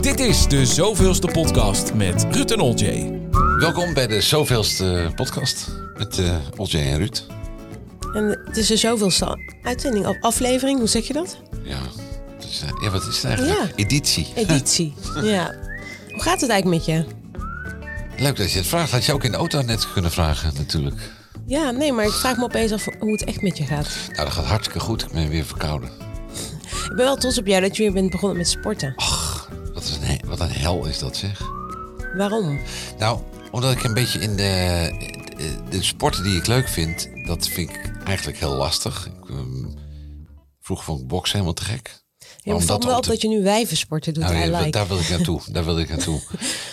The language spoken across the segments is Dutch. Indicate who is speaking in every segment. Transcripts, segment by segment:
Speaker 1: Dit is de zoveelste podcast met Ruud en Oljay.
Speaker 2: Welkom bij de zoveelste podcast met eh Olje en Ruud.
Speaker 3: En het is de zoveelste uitzending, of aflevering, hoe zeg je dat?
Speaker 2: Ja, het is, eh, ja wat is het eigenlijk?
Speaker 3: Ja.
Speaker 2: Editie.
Speaker 3: Editie. ja. Hoe gaat het eigenlijk met je?
Speaker 2: Leuk dat je het vraagt. Had je ook in de auto net kunnen vragen natuurlijk.
Speaker 3: Ja, nee, maar ik vraag me opeens af hoe het echt met je gaat.
Speaker 2: Nou, dat gaat hartstikke goed. Ik ben weer verkouden.
Speaker 3: Ik ben wel trots op jou dat je weer bent begonnen met sporten.
Speaker 2: Oh. Wat, is een, he- wat een hel is dat zeg.
Speaker 3: Waarom?
Speaker 2: Nou, omdat ik een beetje in de, de sporten die ik leuk vind, dat vind ik eigenlijk heel lastig. Ik, ehm, vroeger vond ik boksen helemaal te gek.
Speaker 3: Ja,
Speaker 2: Om
Speaker 3: maar
Speaker 2: dat
Speaker 3: valt me wel
Speaker 2: op
Speaker 3: op
Speaker 2: te-
Speaker 3: dat je nu wijvensporten doet.
Speaker 2: Nou,
Speaker 3: I
Speaker 2: ja,
Speaker 3: like.
Speaker 2: daar wil ik naartoe. Daar wil ik naartoe.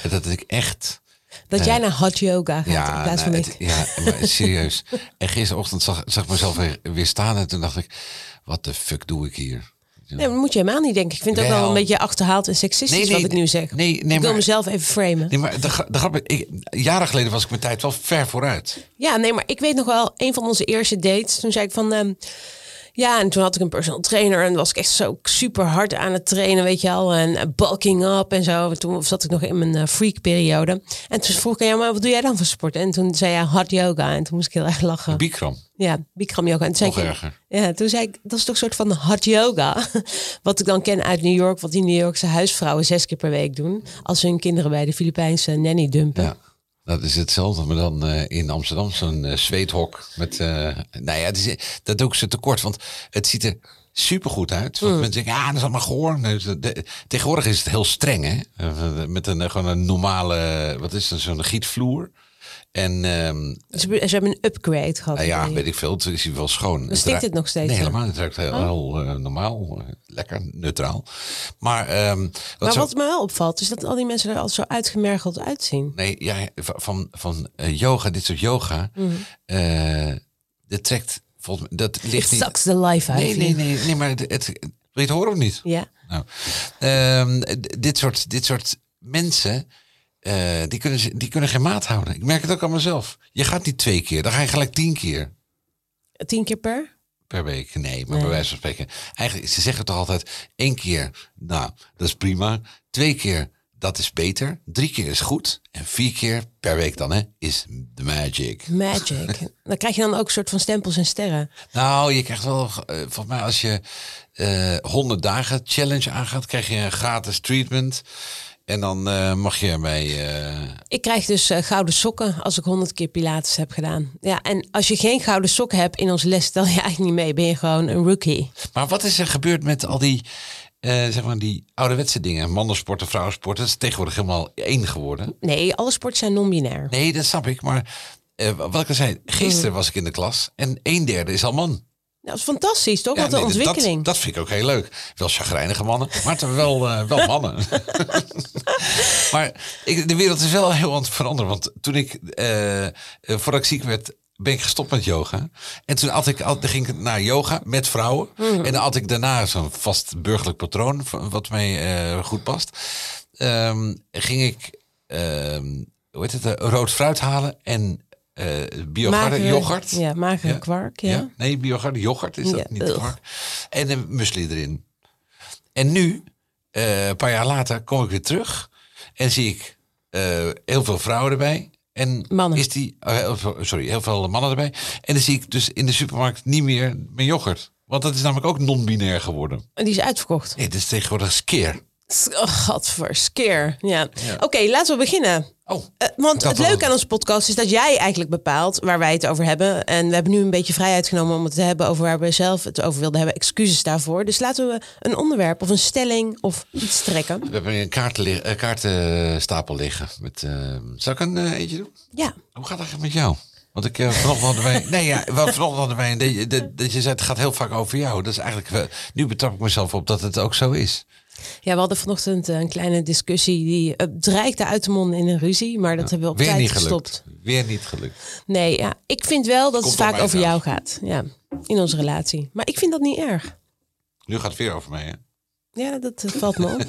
Speaker 2: En dat ik echt...
Speaker 3: dat jij naar hot yoga gaat in plaats van
Speaker 2: nou,
Speaker 3: ik.
Speaker 2: het- ja, maar serieus. En gisterochtend zag, zag ik mezelf weer, weer staan en toen dacht ik, wat de fuck doe ik hier?
Speaker 3: Nee, dat moet je helemaal niet denken. Ik vind het ook wel
Speaker 2: Wel.
Speaker 3: een beetje achterhaald en seksistisch
Speaker 2: Nee, nee,
Speaker 3: wat ik nu zeg.
Speaker 2: nee, nee,
Speaker 3: ik wil
Speaker 2: maar-
Speaker 3: mezelf even framen.
Speaker 2: Nee, maar de, gra- de grap, is, ik, jaren geleden was ik mijn tijd wel ver vooruit.
Speaker 3: Ja, nee, maar ik weet nog wel, een van onze eerste dates, toen zei ik van, ehm, ja, en toen had ik een personal trainer en was ik echt zo super hard aan het trainen, weet je al, en eh, bulking up en zo. Toen zat ik nog in mijn eh, freak-periode. En toen vroeg ik aan jou, maar wat doe jij dan voor sport? En toen zei jij hard yoga en toen moest ik heel erg lachen.
Speaker 2: Bikram,
Speaker 3: ja, Bikram yoga. En toen zei
Speaker 2: nog
Speaker 3: ik,
Speaker 2: erger.
Speaker 3: ja, toen zei ik, dat is toch een soort van hard yoga. Wat ik dan ken uit New York, wat die New Yorkse huisvrouwen zes keer per week doen. Als ze hun kinderen bij de Filipijnse nanny dumpen.
Speaker 2: Ja. Dat is hetzelfde, maar dan eh, in Amsterdam zo'n eh, zweethok. Met, eh, nou ja, het is, dat doe ik ze tekort, want het ziet er supergoed uit.
Speaker 3: Mm.
Speaker 2: Want mensen denken, ja, dat is allemaal goor. Nee, dus, de- tegenwoordig is het heel streng, hè? Eh, Met een, eh, gewoon een normale, wat is dat, zo'n gietvloer. En ehm,
Speaker 3: Ze, ze hebben een upgrade gehad.
Speaker 2: Nou ja,
Speaker 3: denk ik.
Speaker 2: weet ik veel. Het is hier wel schoon.
Speaker 3: Dan Oh. stinkt
Speaker 2: ruikt-
Speaker 3: het nog steeds,
Speaker 2: Nee,
Speaker 3: hè?
Speaker 2: helemaal. niet. Het ruikt heel, heel, eh, normaal. eh, Lekker, neutraal. Maar, ehm, wat
Speaker 3: Maar
Speaker 2: zo-
Speaker 3: wat me wel opvalt, is dat al die mensen er al zo uitgemergeld uitzien.
Speaker 2: Nee, ja, va- van, van eh, yoga, dit soort yoga.
Speaker 3: Mhm.
Speaker 2: eh, dat trekt volgens mij... Dat
Speaker 3: It
Speaker 2: ligt niet...
Speaker 3: sucks the life out
Speaker 2: Nee,
Speaker 3: of
Speaker 2: nee,
Speaker 3: you.
Speaker 2: nee, nee, maar het, het- wil je het horen of niet?
Speaker 3: Ja,
Speaker 2: Nou, ehm, d- dit, soort, dit soort mensen, eh, die, kunnen, ze- die kunnen geen maat houden. Ik merk het ook aan mezelf. Je gaat niet twee keer, dan ga je gelijk tien keer.
Speaker 3: tien keer per?
Speaker 2: per week. Nee, maar bij wijze van spreken. Eigenlijk, ze zeggen toch altijd één keer, nou, dat is prima. Twee keer, dat is beter. Drie keer is goed. En vier keer per week dan, hè, is de magic.
Speaker 3: Magic. dan krijg je dan ook een soort van stempels en sterren.
Speaker 2: Nou, je krijgt wel, eh, volgens mij als je eh 100 dagen challenge aangaat, krijg je een gratis treatment. En dan eh, mag je bij... eh,
Speaker 3: Ik krijg dus eh, gouden sokken als ik honderd keer Pilates heb gedaan. Ja, en als je geen gouden sokken hebt in ons les, tel je eigenlijk niet mee. Ben je gewoon een rookie.
Speaker 2: Maar wat is er gebeurd met al die, eh, zeg maar, die ouderwetse dingen? Mannensporten, vrouwensporten. Dat is tegenwoordig helemaal één geworden.
Speaker 3: Nee, alle sporten zijn non-binair. Nou,
Speaker 2: Nee, dat snap ik. Maar eh, wat ik al zei, gisteren was ik in de klas en een derde is al man.
Speaker 3: Dat is fantastisch, toch? Wat
Speaker 2: nee,
Speaker 3: een
Speaker 2: dat-
Speaker 3: ontwikkeling.
Speaker 2: Dat, vind ik ook heel leuk. Wel chagrijnige mannen, maar toch wel, eh, wel mannen. maar ik, de wereld is wel heel aan het veranderen. Want toen ik, eh, eh, voordat ik ziek werd, ben ik gestopt met yoga. En toen at ik, al- dan ging ik naar yoga met vrouwen.
Speaker 3: Mhm.
Speaker 2: En dan had ik daarna zo'n vast burgerlijk patroon, van- wat mij eh, goed past. Ehm, ging ik, ehm, hoe heet het, eh, rood fruit halen en eh biogarde
Speaker 3: Magere-
Speaker 2: yoghurt.
Speaker 3: Ja, magere kwark, ja.
Speaker 2: Nee, biogarde yoghurt is dat
Speaker 3: Ja,
Speaker 2: niet.
Speaker 3: ugh.
Speaker 2: kwark. En een muesli erin. En nu, eh, een paar jaar later, kom ik weer terug. En zie ik eh, heel veel vrouwen erbij. En
Speaker 3: Mannen.
Speaker 2: is die, oh, heel veel- sorry, heel veel mannen erbij. En dan zie ik dus in de supermarkt niet meer mijn yoghurt. Want dat is namelijk ook non-binair geworden.
Speaker 3: En Die is uitverkocht.
Speaker 2: Nee, dit is tegenwoordig skeer.
Speaker 3: Oh, gadverskeer. Ja. Oké, laten we beginnen.
Speaker 2: Oh,
Speaker 3: Eh, want
Speaker 2: dacht
Speaker 3: het
Speaker 2: dat
Speaker 3: leuke
Speaker 2: het-
Speaker 3: aan onze podcast is dat jij eigenlijk bepaalt waar wij het over hebben. En we hebben nu een beetje vrijheid genomen om het te hebben over waar we zelf het over wilden hebben. Excuses daarvoor. Dus laten we een onderwerp of een stelling of iets trekken.
Speaker 2: we hebben hier een kaart li- eh, kaartenstapel liggen. Met, eh, zal ik een eh, eentje doen?
Speaker 3: Ja,
Speaker 2: Hoe gaat het eigenlijk met jou? Want ik eh, vanochtend hadden wij. Nee, ja, wel, vanochtend hadden wij. Dat je, dat- dat je zei, het gaat heel vaak over jou. Dat is eigenlijk. wel- nu betrap ik mezelf op dat het ook zo is.
Speaker 3: ja we hadden vanochtend eh, een kleine discussie die eh, dreigde uit te monden in een ruzie. Maar dat hebben we op
Speaker 2: Weer
Speaker 3: tijd
Speaker 2: niet gelukt.
Speaker 3: gestopt.
Speaker 2: Weer niet gelukt.
Speaker 3: Nee, ja, ik vind wel dat
Speaker 2: Komt
Speaker 3: het
Speaker 2: aan
Speaker 3: vaak
Speaker 2: mij
Speaker 3: over jou gaat. Ja, in onze relatie. Maar ik vind dat niet erg.
Speaker 2: Nu gaat het weer over mij. Hè?
Speaker 3: Ja, dat eh, valt me op.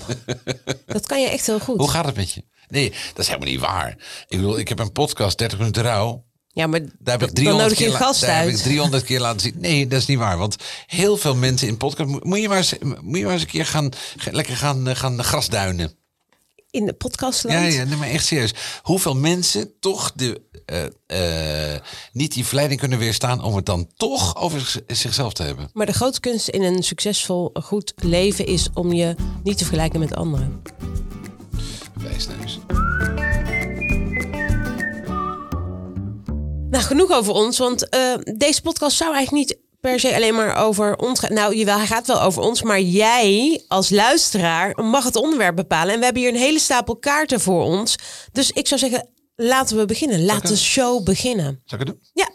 Speaker 3: dat kan je echt heel goed.
Speaker 2: Hoe gaat het met je? Nee, dat is helemaal niet waar. Ik bedoel, ik heb een podcast 30 minuten rouw.
Speaker 3: Ja, maar
Speaker 2: Daar heb ik
Speaker 3: dan
Speaker 2: 300
Speaker 3: nodig je
Speaker 2: keer
Speaker 3: een
Speaker 2: la-
Speaker 3: gast
Speaker 2: daar heb
Speaker 3: uit.
Speaker 2: ik 300 keer laten zien. Nee, dat is niet waar. Want heel veel mensen in podcast. Moet je maar eens, moet je maar eens een keer gaan, ge- lekker gaan, eh, gaan grasduinen.
Speaker 3: in de podcastland.
Speaker 2: Ja, ja nee, maar echt serieus. Hoeveel mensen toch de, eh, eh, niet die verleiding kunnen weerstaan om het dan toch over zich- zichzelf te hebben?
Speaker 3: Maar de grote kunst in een succesvol, eh, goed leven is om je niet te vergelijken met anderen.
Speaker 2: Wijsneus.
Speaker 3: Nou, genoeg over ons, want eh, deze podcast zou eigenlijk niet per se alleen maar over ons gaan. Nou, jawel, hij gaat wel over ons, maar jij als luisteraar mag het onderwerp bepalen. En we hebben hier een hele stapel kaarten voor ons. Dus ik zou zeggen, laten we beginnen. Laat de show beginnen.
Speaker 2: Zal ik het doen?
Speaker 3: Ja,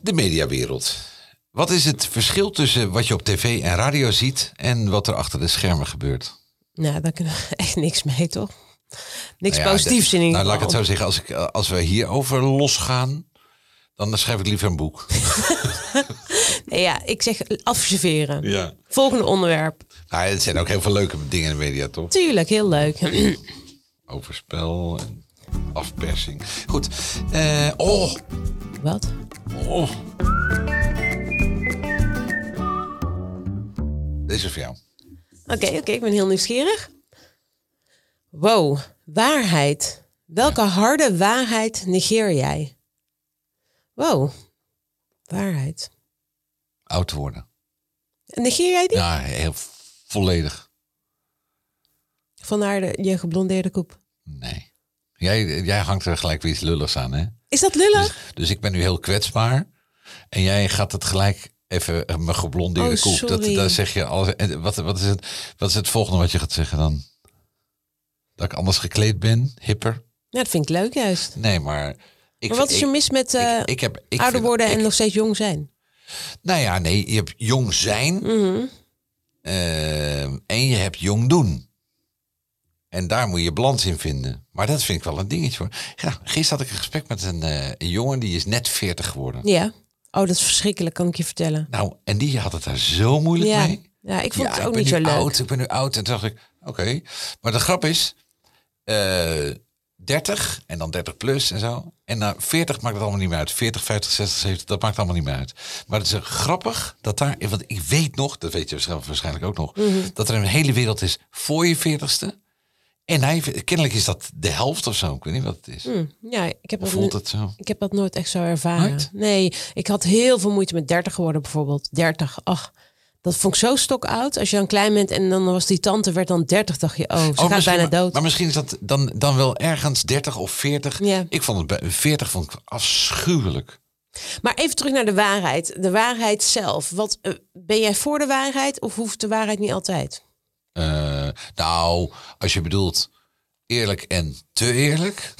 Speaker 2: De mediawereld. Wat is het verschil tussen wat je op tv en radio ziet en wat er achter de schermen gebeurt?
Speaker 3: nou, daar kunnen we echt niks mee, toch? Niks
Speaker 2: Nou ja,
Speaker 3: positiefs
Speaker 2: de-
Speaker 3: in ieder
Speaker 2: Nou, laat
Speaker 3: geval.
Speaker 2: ik het zo zeggen. Als, ik, als we hierover losgaan, dan schrijf ik liever een boek.
Speaker 3: Nee, Ja, ik zeg afserveren.
Speaker 2: Ja.
Speaker 3: Volgende onderwerp.
Speaker 2: Nou, het zijn ook heel veel leuke dingen in de media, toch?
Speaker 3: Tuurlijk, heel leuk.
Speaker 2: Overspel en afpersing. Goed. Eh, oh,
Speaker 3: Wat?
Speaker 2: oh. Deze is voor jou.
Speaker 3: Oké, oké, ik ben heel nieuwsgierig. Wow, waarheid. Welke harde waarheid negeer jij? Wow, waarheid.
Speaker 2: Oud worden.
Speaker 3: Negeer jij die?
Speaker 2: Ja, heel volledig.
Speaker 3: Vandaar de, je geblondeerde koep.
Speaker 2: Nee. Jij, jij hangt er gelijk weer iets lulligs aan, hè?
Speaker 3: Is dat lullig?
Speaker 2: Dus ik ben nu heel kwetsbaar. En jij gaat het gelijk even eh, mijn geblondeerde
Speaker 3: Oh,
Speaker 2: koek. Dat,
Speaker 3: sorry.
Speaker 2: daar zeg je alles. En wat, wat, is het, wat is het volgende wat je gaat zeggen dan? Dat ik anders gekleed ben, hipper?
Speaker 3: Ja, Nou, dat vind ik leuk juist.
Speaker 2: Nee, maar. Ik,
Speaker 3: Maar wat is
Speaker 2: ik-
Speaker 3: er mis met eh
Speaker 2: ik, ik heb, ik
Speaker 3: ouder
Speaker 2: vind-
Speaker 3: worden
Speaker 2: ik-
Speaker 3: en nog steeds jong zijn?
Speaker 2: Nou ja, nee, je hebt jong zijn. eh, en je hebt jong doen. En daar moet je balans in vinden. Maar dat vind ik wel een dingetje hoor. Ja, gisteren had ik een gesprek met een, eh, een jongen die is net 40 geworden.
Speaker 3: Ja. Oh, dat is verschrikkelijk, kan ik je vertellen.
Speaker 2: Nou, en die had het daar zo moeilijk
Speaker 3: Ja,
Speaker 2: mee.
Speaker 3: ja ik vond
Speaker 2: ja,
Speaker 3: het
Speaker 2: ik
Speaker 3: ook
Speaker 2: ben
Speaker 3: niet
Speaker 2: nu
Speaker 3: zo leuk.
Speaker 2: oud, ik ben nu oud. En toen dacht ik, oké. Maar de grap is, eh 30 en dan 30 plus en zo. En na 40 maakt het allemaal niet meer uit. 40, 50, 60, 70, dat maakt allemaal niet meer uit. Maar het is eh, grappig dat daar, want ik weet nog, dat weet je waarschijnlijk- waarschijnlijk ook nog,
Speaker 3: Mhm.
Speaker 2: dat er een hele wereld is voor je 40ste. En hij, kennelijk is dat de helft of zo. Ik weet niet wat het is.
Speaker 3: Ja, ik heb
Speaker 2: Hoe
Speaker 3: nog
Speaker 2: voelt het zo?
Speaker 3: Ik heb dat nooit echt zo ervaren.
Speaker 2: Nooit?
Speaker 3: Nee, ik had heel veel moeite met 30 geworden bijvoorbeeld. 30, ach. Dat vond ik zo stokoud. Als je dan klein bent en dan was die tante werd dan 30, dacht je, oh, ze
Speaker 2: Oh,
Speaker 3: gaat
Speaker 2: misschien-
Speaker 3: bijna
Speaker 2: maar-
Speaker 3: dood.
Speaker 2: Maar misschien is dat dan, dan wel ergens 30 of 40.
Speaker 3: Ja.
Speaker 2: Ik vond het bij 40 vond ik afschuwelijk.
Speaker 3: Maar even terug naar de waarheid. De waarheid zelf. Wat, eh, ben jij voor de waarheid of hoeft de waarheid niet altijd?
Speaker 2: Eh, nou, als je bedoelt eerlijk en te eerlijk.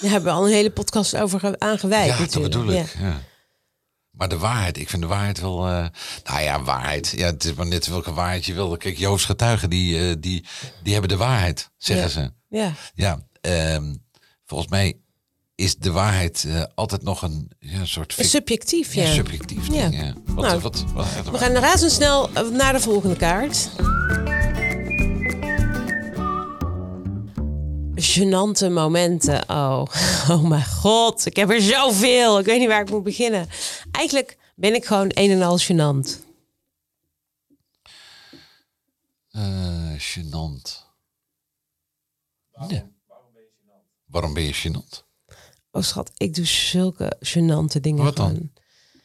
Speaker 3: Daar hebben we al een hele podcast over ge- aan gewijd.
Speaker 2: ja, dat
Speaker 3: natuurlijk.
Speaker 2: bedoel ik.
Speaker 3: Ja.
Speaker 2: Ja. Maar de waarheid, ik vind de waarheid wel. eh, nou ja, waarheid. Ja, het is maar net welke waarheid je wil. Kijk, Joost getuigen, die, eh, die, die hebben de waarheid, zeggen ze.
Speaker 3: Ja.
Speaker 2: Ja, ehm, volgens mij is de waarheid eh, altijd nog een ja, soort fic-
Speaker 3: Subjectief, ja.
Speaker 2: ja, subjectief
Speaker 3: Ja.
Speaker 2: ding. Ja. Wat,
Speaker 3: Nou,
Speaker 2: wat, wat, gaat er-
Speaker 3: We gaan razendsnel eh, naar de volgende kaart. Genante momenten. Oh, oh mijn god. Ik heb er zoveel. Ik weet niet waar ik moet beginnen. Eigenlijk ben ik gewoon een en al genant.
Speaker 2: Eh, gênant. Nee. Waarom ben je gênant?
Speaker 3: Oh schat, ik doe zulke genante dingen.
Speaker 2: Wat dan?
Speaker 3: gewoon.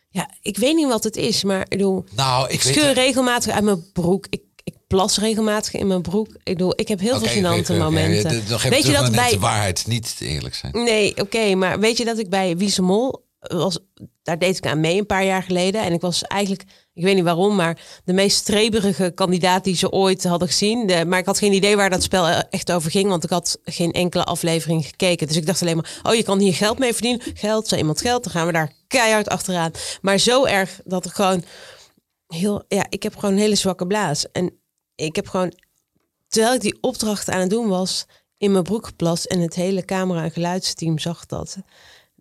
Speaker 3: Ja, ik weet niet wat het is, maar ik bedoel,
Speaker 2: Nou,
Speaker 3: ik
Speaker 2: ik
Speaker 3: scheur
Speaker 2: weet
Speaker 3: regelmatig uit mijn broek. Ik, ik plas regelmatig in mijn broek. Ik bedoel, ik heb heel
Speaker 2: Oké,
Speaker 3: veel genante
Speaker 2: oké, oké.
Speaker 3: momenten.
Speaker 2: Ja, d- nog even
Speaker 3: weet je
Speaker 2: terug
Speaker 3: dat
Speaker 2: naar net
Speaker 3: bij Mm.
Speaker 2: de waarheid niet te eerlijk zijn.
Speaker 3: Nee, oké, maar weet je dat ik bij Wiese Mol eh, was, daar deed ik aan mee een paar jaar geleden. En ik was eigenlijk, ik weet niet waarom, maar de meest streberige kandidaat die ze ooit hadden gezien. De- maar ik had geen idee waar dat spel eh, echt over ging, want ik had geen enkele aflevering gekeken. Dus ik dacht alleen maar, oh, je kan hier geld mee verdienen. Geld, zo iemand geld, dan gaan we daar keihard achteraan. Maar zo erg dat ik gewoon heel, ja, ik heb gewoon een hele zwakke blaas. En ik heb gewoon terwijl ik die opdracht aan het doen was, in mijn broek geplast. En het hele camera- en geluidsteam zag dat.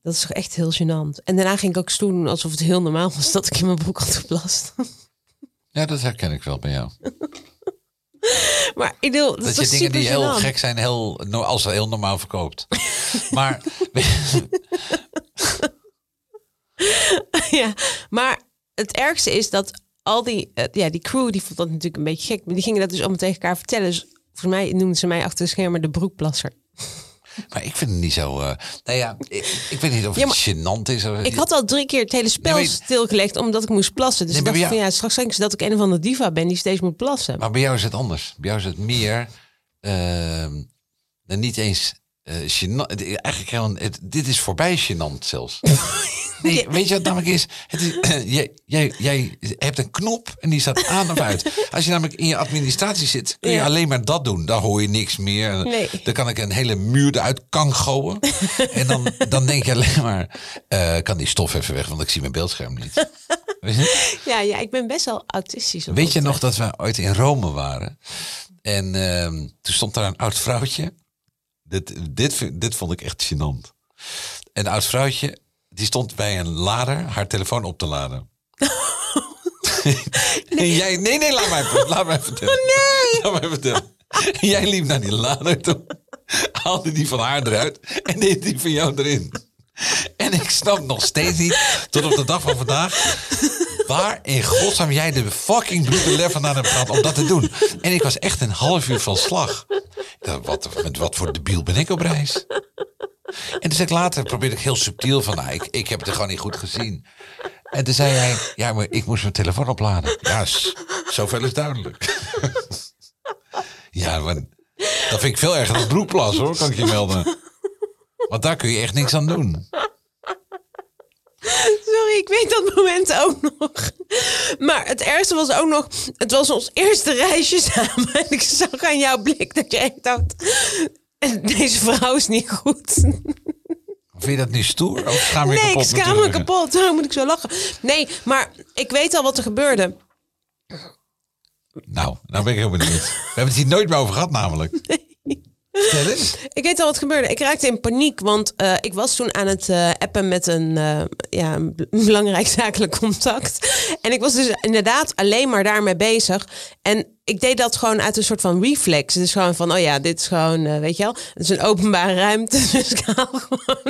Speaker 3: Dat is toch echt heel gênant. En daarna ging ik ook stoer doen alsof het heel normaal was dat ik in mijn broek had geplast.
Speaker 2: Ja, dat herken ik wel bij jou.
Speaker 3: maar ik bedoel, dat,
Speaker 2: Dat,
Speaker 3: is toch
Speaker 2: je dingen die
Speaker 3: super
Speaker 2: heel
Speaker 3: gênant?
Speaker 2: gek zijn, heel, no- als ze heel normaal verkoopt. maar
Speaker 3: ja, maar het ergste is dat al die, eh, ja, die crew die vond dat natuurlijk een beetje gek. Maar die gingen dat dus allemaal tegen elkaar vertellen. Dus Volgens mij noemden ze mij achter de schermen de broekplasser.
Speaker 2: Maar ik vind het niet zo... eh, nou ja, ik, ik weet niet of
Speaker 3: Ja,
Speaker 2: het gênant is. of-
Speaker 3: Ik had al drie keer het hele spel
Speaker 2: Nee, maar je-
Speaker 3: stilgelegd omdat ik moest plassen. Dus
Speaker 2: Nee,
Speaker 3: ik dacht
Speaker 2: maar
Speaker 3: van
Speaker 2: ja-
Speaker 3: ja, straks denken ze dat ik een van de diva ben die steeds moet plassen.
Speaker 2: Maar bij jou is het anders. Bij jou is het meer... ehm, nou, niet eens eh gênant. Het- Eigenlijk gewoon... het- dit is voorbij gênant zelfs. Nee, weet je wat namelijk is? Het is jij, jij, jij hebt een knop en die staat aan of uit. Als je namelijk in je administratie zit, kun je
Speaker 3: Ja.
Speaker 2: alleen maar dat doen. Dan hoor je niks meer.
Speaker 3: Nee.
Speaker 2: Dan kan ik een hele muur eruit kan gooien. en dan, dan denk je alleen maar, eh, kan die stof even weg, want ik zie mijn beeldscherm niet. Weet je?
Speaker 3: Ja, ja, ik ben best wel autistisch. op
Speaker 2: Weet
Speaker 3: dat
Speaker 2: je nog
Speaker 3: vlak.
Speaker 2: dat we ooit in Rome waren? En ehm, toen stond daar een oud vrouwtje. Dit, dit, vind- dit vond ik echt gênant. Een oud vrouwtje, die stond bij een lader haar telefoon op te laden. En jij, nee, nee, laat mij, even- laat mij vertellen. Oh, Nee! Laat mij vertellen. En jij liep naar die lader toe, haalde die van haar eruit en deed die van jou erin. En ik snap nog steeds niet, tot op de dag van vandaag, Waar in godsnaam jij de fucking bloede lef vandaan hebt gehad om dat te doen? En ik was echt een half uur van slag. Ik dacht, Wat, met wat voor debiel ben ik op reis? En dus ik later probeerde ik heel subtiel van, nou, ik, ik heb het er gewoon niet goed gezien. En toen zei hij, ja, maar ik moest mijn telefoon opladen. Ja, s- zoveel is duidelijk. ja, maar dat vind ik veel erger dan broekplas hoor, kan ik je melden. Want daar kun je echt niks aan doen.
Speaker 3: Sorry, ik weet dat moment ook nog. Maar het ergste was ook nog, het was ons eerste reisje samen. En ik zag aan jouw blik dat je echt dacht, deze vrouw is niet goed.
Speaker 2: Vind je dat nu stoer? Of schaam je je
Speaker 3: Nee, ik
Speaker 2: kapot?
Speaker 3: schaam me
Speaker 2: natuurlijk?
Speaker 3: kapot. Waarom moet ik zo lachen? Nee, maar ik weet al wat er gebeurde.
Speaker 2: Nou, nou ben ik heel benieuwd. We hebben het hier nooit meer over gehad namelijk. Vertel eens.
Speaker 3: Ik weet al wat gebeurde. Ik raakte in paniek, want eh, ik was toen aan het eh, appen met een, eh, ja, een bl- een belangrijk zakelijk contact. En ik was dus inderdaad alleen maar daarmee bezig. En ik deed dat gewoon uit een soort van reflex. Dus gewoon van, oh ja, dit is gewoon, eh, weet je wel, het is een openbare ruimte. Dus ik haal gewoon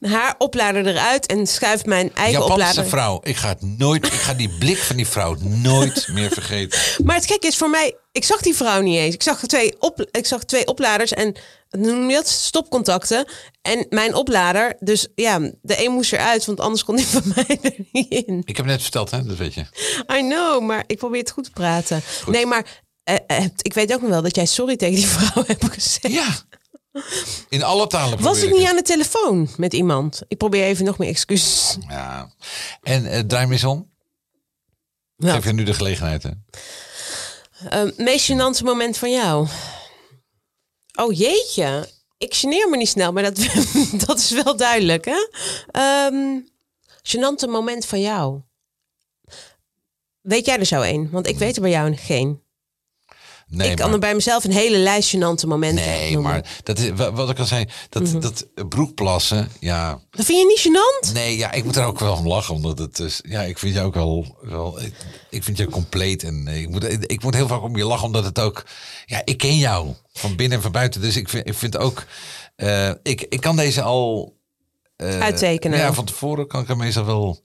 Speaker 3: haar oplader eruit en schuif mijn eigen
Speaker 2: Japanse
Speaker 3: oplader.
Speaker 2: vrouw. Ik ga, het nooit, ik ga die blik van die vrouw nooit meer vergeten.
Speaker 3: Maar het gekke is voor mij, ik zag die vrouw niet eens. Ik zag twee, op, ik zag twee opladers en noem je dat stopcontacten. En mijn oplader, dus ja, de een moest eruit, want anders kon die van mij er niet in.
Speaker 2: Ik heb net verteld, hè? Dat weet je.
Speaker 3: I know, maar ik probeer het goed te praten. Nee, maar eh, eh, ik weet ook nog wel dat jij sorry tegen die vrouw hebt gezegd.
Speaker 2: Ja. In alle talen
Speaker 3: Was
Speaker 2: probeer
Speaker 3: ik niet
Speaker 2: het.
Speaker 3: aan de telefoon met iemand? Ik probeer even nog meer excuses.
Speaker 2: Ja. En eh draai me eens om.
Speaker 3: Nou,
Speaker 2: Geef je nu de gelegenheid, hè?
Speaker 3: eh, meest gênante moment van jou? Oh jeetje, ik geneer me niet snel, maar dat, dat is wel duidelijk, hè? Ehm gênante moment van jou? Weet jij er zo een? Want ik weet er bij jou geen.
Speaker 2: Nee,
Speaker 3: ik kan
Speaker 2: maar-
Speaker 3: er bij mezelf een hele lijst gênante momenten
Speaker 2: Nee,
Speaker 3: noemen. Mhm.
Speaker 2: maar dat is, wa- wat ik al zei, dat, dat broekplassen, ja.
Speaker 3: Dat vind je niet gênant?
Speaker 2: Nee, ja, ik moet er ook wel om lachen, omdat het is, ja, ik vind je ook wel, wel ik, ik vind je compleet en eh, ik moet, ik moet heel vaak om je lachen, omdat het ook, ja, ik ken jou van binnen en van buiten, dus ik vind, ik vind ook, eh, ik, ik kan deze al,
Speaker 3: Uittekenen.
Speaker 2: Eh, ja, van tevoren kan ik er meestal wel,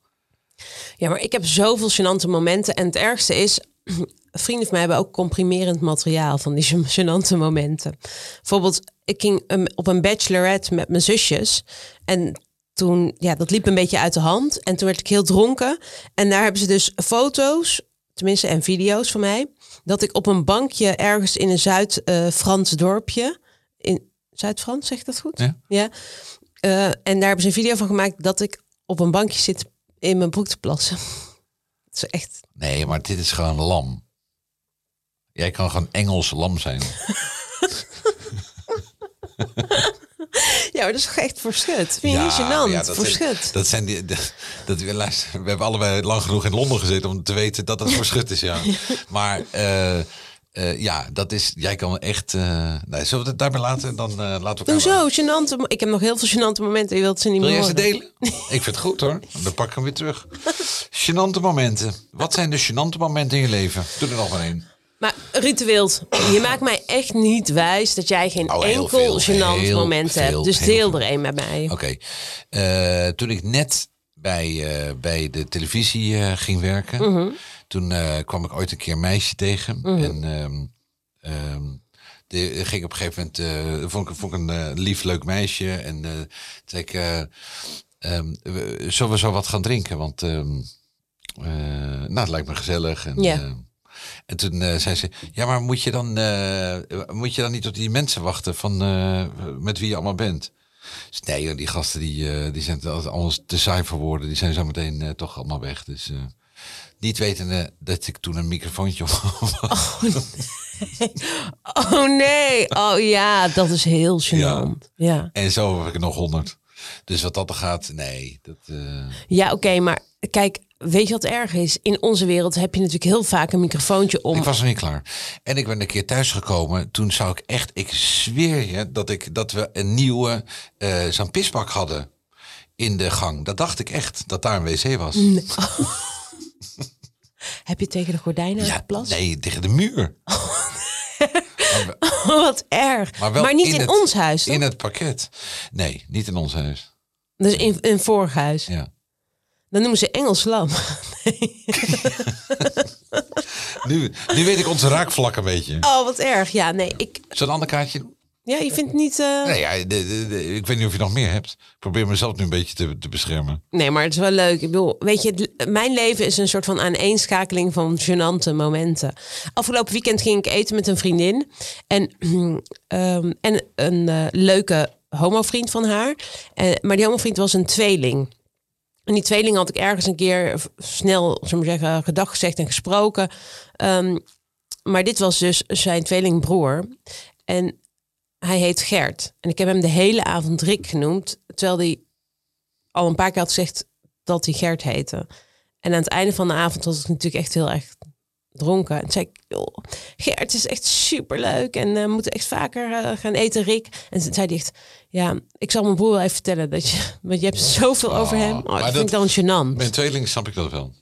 Speaker 3: Ja, maar ik heb zoveel gênante momenten. En het ergste is, vrienden van mij hebben ook comprimerend materiaal van die gen- gênante momenten. Bijvoorbeeld, ik ging um, op een bachelorette met mijn zusjes. En toen, ja, dat liep een beetje uit de hand. En toen werd ik heel dronken. En daar hebben ze dus foto's, tenminste en video's van mij. Dat ik op een bankje ergens in een Zuid-Frans dorpje. In Zuid-Frans, zeg ik dat goed?
Speaker 2: Ja.
Speaker 3: ja eh, en daar hebben ze een video van gemaakt dat ik op een bankje zit in mijn broek te plassen. Het is echt.
Speaker 2: nee, maar dit is gewoon lam. Jij kan gewoon Engels lam zijn.
Speaker 3: Ja, maar dat is toch echt voor schut. Vind je niet
Speaker 2: maar
Speaker 3: gênant?
Speaker 2: ja,
Speaker 3: voor
Speaker 2: zijn,
Speaker 3: schut.
Speaker 2: dat zijn die. Dat, dat, luister, we hebben allebei lang genoeg in Londen gezeten om te weten dat dat voor schut is, ja. Maar eh, eh, ja, dat is. Jij kan echt. eh, nee, zullen we het daarbij laten? Dan eh, laten we elkaar. maar-
Speaker 3: Hoezo? Gênante, mo- ik heb nog heel veel gênante momenten. Je wilt ze niet
Speaker 2: Wil
Speaker 3: meer
Speaker 2: jij ze
Speaker 3: horen.
Speaker 2: delen? Ik vind het goed hoor. Dan pak ik hem weer terug. Genante momenten. Wat zijn de genante momenten in je leven? Doe er nog maar één.
Speaker 3: Maar Ruud de Wild, je maakt mij echt niet wijs dat jij geen
Speaker 2: Oh, heel
Speaker 3: enkel
Speaker 2: veel,
Speaker 3: gênant
Speaker 2: heel
Speaker 3: moment
Speaker 2: veel,
Speaker 3: hebt. Dus
Speaker 2: heel
Speaker 3: deel
Speaker 2: veel.
Speaker 3: er een met mij.
Speaker 2: Oké. Eh, toen ik net bij, eh, bij de televisie eh, ging werken, toen eh, kwam ik ooit een keer een meisje tegen. En ehm, ehm, Die eh, ging op een gegeven moment, eh, vond, ik, vond ik een eh, lief leuk meisje. En eh, toen zei ik, eh, ehm, we- zullen we zo wat gaan drinken? Want ehm, eh, nou, het lijkt me gezellig. En,
Speaker 3: Ja.
Speaker 2: eh, en toen eh, zei ze, ja, maar moet je, dan, eh, moet je dan niet op die mensen wachten van, eh, met wie je allemaal bent? Dus nee, joh, die gasten die, eh, die zijn altijd alles te saai voor woorden. Die zijn zo meteen eh, toch allemaal weg. Dus eh, niet wetende dat ik toen een microfoontje op
Speaker 3: Oh nee. Oh ja, dat is heel gênant.
Speaker 2: gênant.
Speaker 3: Ja, ja.
Speaker 2: En zo heb ik er nog honderd. Dus wat dat er gaat, nee. Dat, eh,
Speaker 3: oké, maar kijk, weet je wat erg is? In onze wereld heb je natuurlijk heel vaak een microfoontje om.
Speaker 2: Ik was nog niet klaar. En ik ben een keer thuisgekomen. Toen zou ik echt, ik zweer je, dat, ik, dat we een nieuwe eh zo'n pisbak hadden in de gang. Dat dacht ik echt, dat daar een wc was.
Speaker 3: Mm, Heb je tegen de gordijnen
Speaker 2: Ja,
Speaker 3: geplast?
Speaker 2: nee, tegen de muur. Maar we-
Speaker 3: wat erg. Maar,
Speaker 2: wel
Speaker 3: niet in,
Speaker 2: het-
Speaker 3: ons huis. toch?
Speaker 2: In het pakket. Nee, niet in ons huis.
Speaker 3: Dus in, in vorig huis.
Speaker 2: Ja.
Speaker 3: Dan noemen ze Engels lam.
Speaker 2: Nu, nu weet ik onze raakvlak een beetje.
Speaker 3: Oh, wat erg. Ja, nee, ik.
Speaker 2: Zal een ander kaartje doen?
Speaker 3: Ja, je vindt niet. eh,
Speaker 2: Nee, ja, de- de- de- ik weet niet of je nog meer hebt. Ik probeer mezelf nu een beetje te, te beschermen.
Speaker 3: Nee, maar het is wel leuk. Ik bedoel, weet je, het- mijn leven is een soort van aaneenschakeling van gênante momenten. Afgelopen weekend ging ik eten met een vriendin en, ehm, en een eh, leuke homovriend van haar. Eh, maar die homovriend was een tweeling. En die tweeling had ik ergens een keer v- snel, zullen we zeggen, gedag gezegd en gesproken. Ehm, maar dit was dus zijn tweelingbroer. En hij heet Gert. En ik heb hem de hele avond Rick genoemd, terwijl hij al een paar keer had gezegd dat hij Gert heette. En aan het einde van de avond was ik natuurlijk echt heel erg dronken. En toen zei ik, joh, Gert het is echt superleuk en eh, we moeten echt vaker eh, gaan eten, Rick. En toen zei hij echt, ja, ik zal mijn broer wel even vertellen dat je, want je hebt zoveel over hem. Oh, dat
Speaker 2: maar
Speaker 3: vind
Speaker 2: dat-
Speaker 3: ik dan gênant.
Speaker 2: Mijn tweeling snap ik dat wel.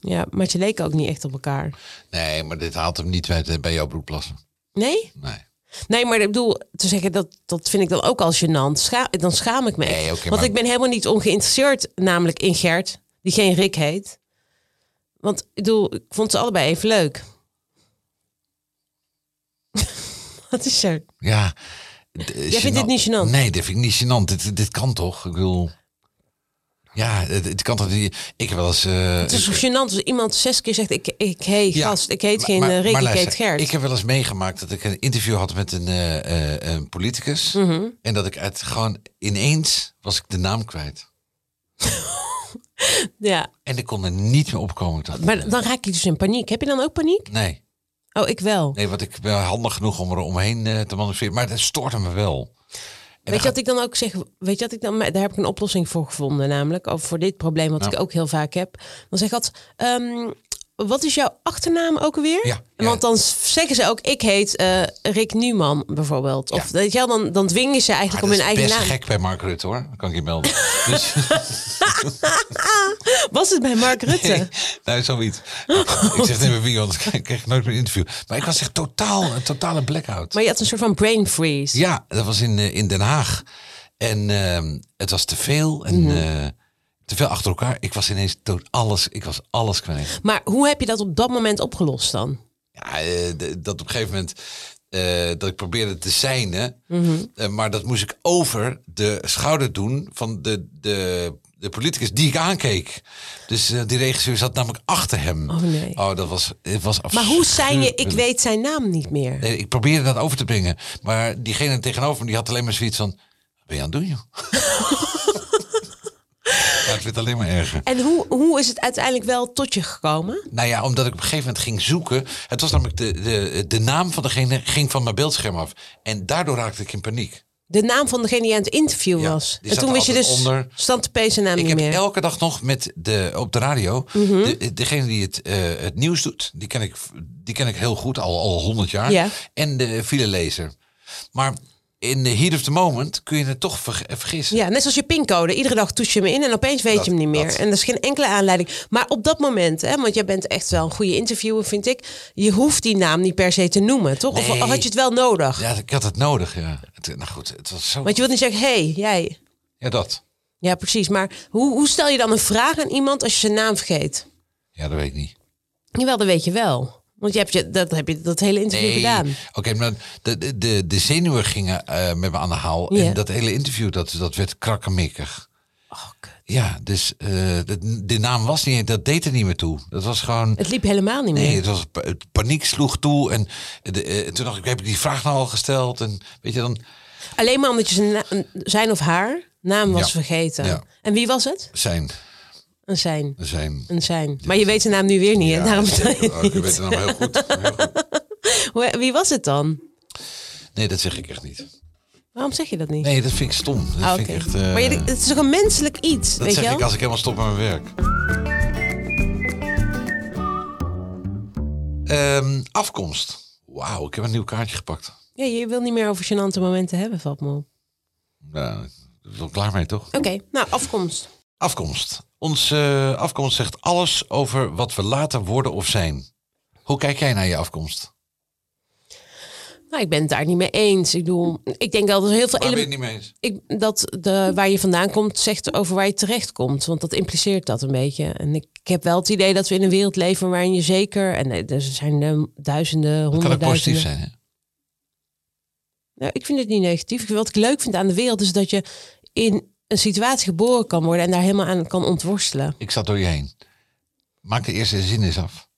Speaker 3: Ja, maar je leken ook niet echt op elkaar.
Speaker 2: Nee, maar dit haalt hem niet bij, bij jouw bloedplassen.
Speaker 3: Nee?
Speaker 2: Nee.
Speaker 3: Nee, maar ik bedoel, te zeggen dat, dat vind ik dan ook al gênant. Scha- dan schaam ik me echt.
Speaker 2: Nee, oké,
Speaker 3: Want
Speaker 2: maar-
Speaker 3: ik ben helemaal niet ongeïnteresseerd, namelijk in Gert, die geen Rick heet. Want ik bedoel, ik vond ze allebei even leuk. Wat is er?
Speaker 2: Ja. eh,
Speaker 3: Jij vindt dit niet gênant?
Speaker 2: Nee, dit vind ik niet gênant. Dit, dit kan toch? Ik wil. Ja, het, het kan toch niet. Ik heb wel eens. eh,
Speaker 3: Het is zo gênant als iemand zes keer zegt, ik, ik heet
Speaker 2: ja,
Speaker 3: gast, ik heet
Speaker 2: maar-
Speaker 3: geen
Speaker 2: maar-
Speaker 3: eh, Rick,
Speaker 2: maar
Speaker 3: ik
Speaker 2: luister,
Speaker 3: heet Gert.
Speaker 2: Ik heb wel eens meegemaakt dat ik een interview had met een, eh, eh, een politicus.
Speaker 3: Mhm.
Speaker 2: En dat ik het gewoon ineens was ik de naam kwijt.
Speaker 3: Ja,
Speaker 2: En ik kon er niet meer opkomen. Ik dacht, eh,
Speaker 3: maar dan raak ik dus in paniek. Heb je dan ook paniek?
Speaker 2: nee,
Speaker 3: Oh, ik wel.
Speaker 2: nee, want ik ben handig genoeg om er omheen eh, te manoeuvreren. Maar dat stoorde me wel.
Speaker 3: Weet je wat ik dan ook zeg? Weet je wat ik dan? Daar heb ik een oplossing voor gevonden, namelijk ook voor dit probleem wat
Speaker 2: Nou.
Speaker 3: ik ook heel vaak heb. Dan zeg ik altijd, ehm, wat is jouw achternaam ook weer?
Speaker 2: Ja, ja.
Speaker 3: Want dan s- zeggen ze ook, ik heet eh, Rick Numan bijvoorbeeld. Of
Speaker 2: Ja.
Speaker 3: weet je wel, dan, dan dwingen ze eigenlijk
Speaker 2: Maar
Speaker 3: om
Speaker 2: dat
Speaker 3: hun
Speaker 2: is
Speaker 3: eigen
Speaker 2: best
Speaker 3: naam.
Speaker 2: gek bij Mark Rutte hoor. Dat kan ik je melden. Dus,
Speaker 3: Ah, Was het bij Mark Rutte?
Speaker 2: nou, zoiets. ik zeg niet meer wie, anders krijg ik nooit meer een interview. Maar ik was echt totaal, een totale blackout.
Speaker 3: Maar je had een soort van brain freeze.
Speaker 2: Ja, dat was in, eh, in Den Haag. En ehm, het was te veel. En eh, te veel achter elkaar. Ik was ineens dood alles. Ik was alles kwijt.
Speaker 3: Maar hoe heb je dat op dat moment opgelost dan?
Speaker 2: Ja, eh, d- dat op een gegeven moment. eh, dat ik probeerde te zijn. Hè,
Speaker 3: Mhm.
Speaker 2: Eh, maar dat moest ik over de schouder doen van de, de, de politicus die ik aankeek. Dus eh, die regisseur zat namelijk achter hem.
Speaker 3: Oh, nee.
Speaker 2: Oh, dat was. Het was
Speaker 3: Maar hoe zijn je? Ik
Speaker 2: afschuwelijk.
Speaker 3: weet zijn naam niet meer.
Speaker 2: Mm. Nee, ik probeerde dat over te brengen. Maar diegene tegenover me die had alleen maar zoiets van... Wat ben je aan het doen, joh? ja, het werd alleen maar erger.
Speaker 3: En hoe, hoe is het uiteindelijk wel tot je gekomen?
Speaker 2: Nou ja, omdat ik op een gegeven moment ging zoeken. Het was namelijk de, de, de naam van degene ging van mijn beeldscherm af. En daardoor raakte ik in paniek.
Speaker 3: De naam van degene die aan het interview
Speaker 2: Ja,
Speaker 3: was.
Speaker 2: die
Speaker 3: En
Speaker 2: zat
Speaker 3: toen
Speaker 2: er
Speaker 3: wist je
Speaker 2: altijd
Speaker 3: dus
Speaker 2: onder.
Speaker 3: stand de zijn naam
Speaker 2: Ik
Speaker 3: niet
Speaker 2: heb
Speaker 3: meer. Mhm.
Speaker 2: elke dag nog met de, op de radio... de, degene die het, eh, het nieuws doet, die ken ik, die ken ik heel goed, al al honderd jaar.
Speaker 3: Ja.
Speaker 2: En de filelezer. Maar in the heat of the moment kun je het toch verg- vergissen.
Speaker 3: Ja, net zoals je pincode. Iedere dag toets je hem in en opeens weet
Speaker 2: Dat-
Speaker 3: je hem niet meer.
Speaker 2: dat.
Speaker 3: En dat is geen enkele aanleiding. Maar op dat moment, hè, want jij bent echt wel een goede interviewer, vind ik. Je hoeft die naam niet per se te noemen, toch? Of,
Speaker 2: Nee.
Speaker 3: of had je het wel nodig?
Speaker 2: Ja, ik had het nodig, ja. Het, nou goed, het was zo...
Speaker 3: Want je wilt niet zeggen, hé, hey, jij.
Speaker 2: Ja, dat.
Speaker 3: Ja, precies. Maar hoe, hoe stel je dan een vraag aan iemand als je zijn naam vergeet?
Speaker 2: Ja, dat weet ik niet.
Speaker 3: Jawel, dat weet je wel. Want je hebt je, dat, heb je dat hele interview gedaan.
Speaker 2: Oké, maar de, de, de, de zenuwen gingen eh, met me aan de haal.
Speaker 3: Ja.
Speaker 2: En dat hele interview, dat, dat werd krakkemikkig.
Speaker 3: Oh, kut.
Speaker 2: Ja, dus eh, de, de naam was niet, dat deed er niet meer toe. Dat was gewoon...
Speaker 3: Het liep helemaal niet meer.
Speaker 2: Nee, het was, pa- het paniek sloeg toe. En de, eh, toen dacht ik, heb ik die vraag nou al gesteld? En weet je dan,
Speaker 3: Alleen maar omdat je zijn, na- zijn of haar naam was
Speaker 2: Ja.
Speaker 3: vergeten.
Speaker 2: Ja.
Speaker 3: En wie was het?
Speaker 2: zijn,
Speaker 3: Een zijn.
Speaker 2: zijn...
Speaker 3: Een zijn. Maar je weet zijn naam nu weer niet. hè?
Speaker 2: Ja,
Speaker 3: Daarom
Speaker 2: zeker. Oh, ik weet de naam heel goed. Heel goed.
Speaker 3: Hoe- Wie was het dan?
Speaker 2: Nee, dat zeg ik echt niet.
Speaker 3: Waarom zeg je dat niet?
Speaker 2: Nee, dat vind ik stom. Dat
Speaker 3: Ah,
Speaker 2: vind ik
Speaker 3: oké.
Speaker 2: echt... eh,
Speaker 3: Maar je- het is toch een menselijk iets,
Speaker 2: dat
Speaker 3: weet
Speaker 2: zeg
Speaker 3: je wel?
Speaker 2: ik als ik helemaal stop met mijn werk. Ehm, afkomst. Wauw, ik heb een nieuw kaartje gepakt.
Speaker 3: Ja, je wil niet meer over gênante momenten hebben, valt me op.
Speaker 2: Nou, daar ben ik wel klaar mee, toch?
Speaker 3: Oké, nou, afkomst.
Speaker 2: Afkomst. Onze eh, afkomst zegt alles over wat we later worden of zijn. Hoe kijk jij naar je afkomst?
Speaker 3: Nou, ik ben het daar niet mee eens. Ik bedoel, ik denk wel dat er heel veel
Speaker 2: Waar ben je
Speaker 3: elementen...
Speaker 2: het niet mee eens?
Speaker 3: ik, dat de, waar je vandaan komt zegt over waar je terecht komt. Want dat impliceert dat een beetje. En ik, ik heb wel het idee dat we in een wereld leven waarin je zeker... En eh, er zijn eh, duizenden,
Speaker 2: Dat kan ook positief
Speaker 3: honderdduizenden...
Speaker 2: zijn, hè?
Speaker 3: Nou, ik vind het niet negatief. Wat ik leuk vind aan de wereld is dat je in een situatie geboren kan worden... en daar helemaal aan kan ontworstelen.
Speaker 2: Ik zat door je heen. Maak de eerste zin eens af.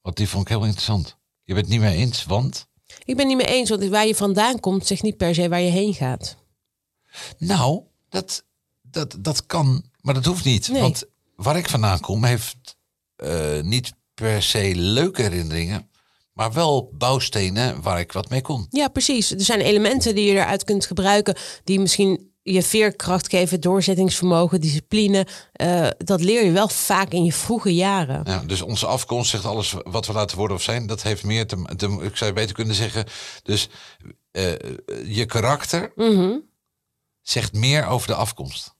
Speaker 2: Want die vond ik heel interessant. Je bent het niet mee eens, want...
Speaker 3: Ik ben het niet mee eens, want waar je vandaan komt zegt niet per se waar je heen gaat.
Speaker 2: Nou, dat, dat, dat kan, maar dat hoeft niet.
Speaker 3: Nee.
Speaker 2: Want waar ik vandaan kom heeft eh, niet per se leuke herinneringen... maar wel bouwstenen waar ik wat mee kon.
Speaker 3: Ja, precies. Er zijn elementen die je eruit kunt gebruiken die misschien je veerkracht geven, doorzettingsvermogen, discipline. Eh, dat leer je wel vaak in je vroege jaren.
Speaker 2: Ja, dus onze afkomst zegt alles wat we laten worden of zijn. Dat heeft meer te, te ik zou beter kunnen zeggen. Dus eh, je karakter
Speaker 3: Mhm.
Speaker 2: zegt meer over de afkomst.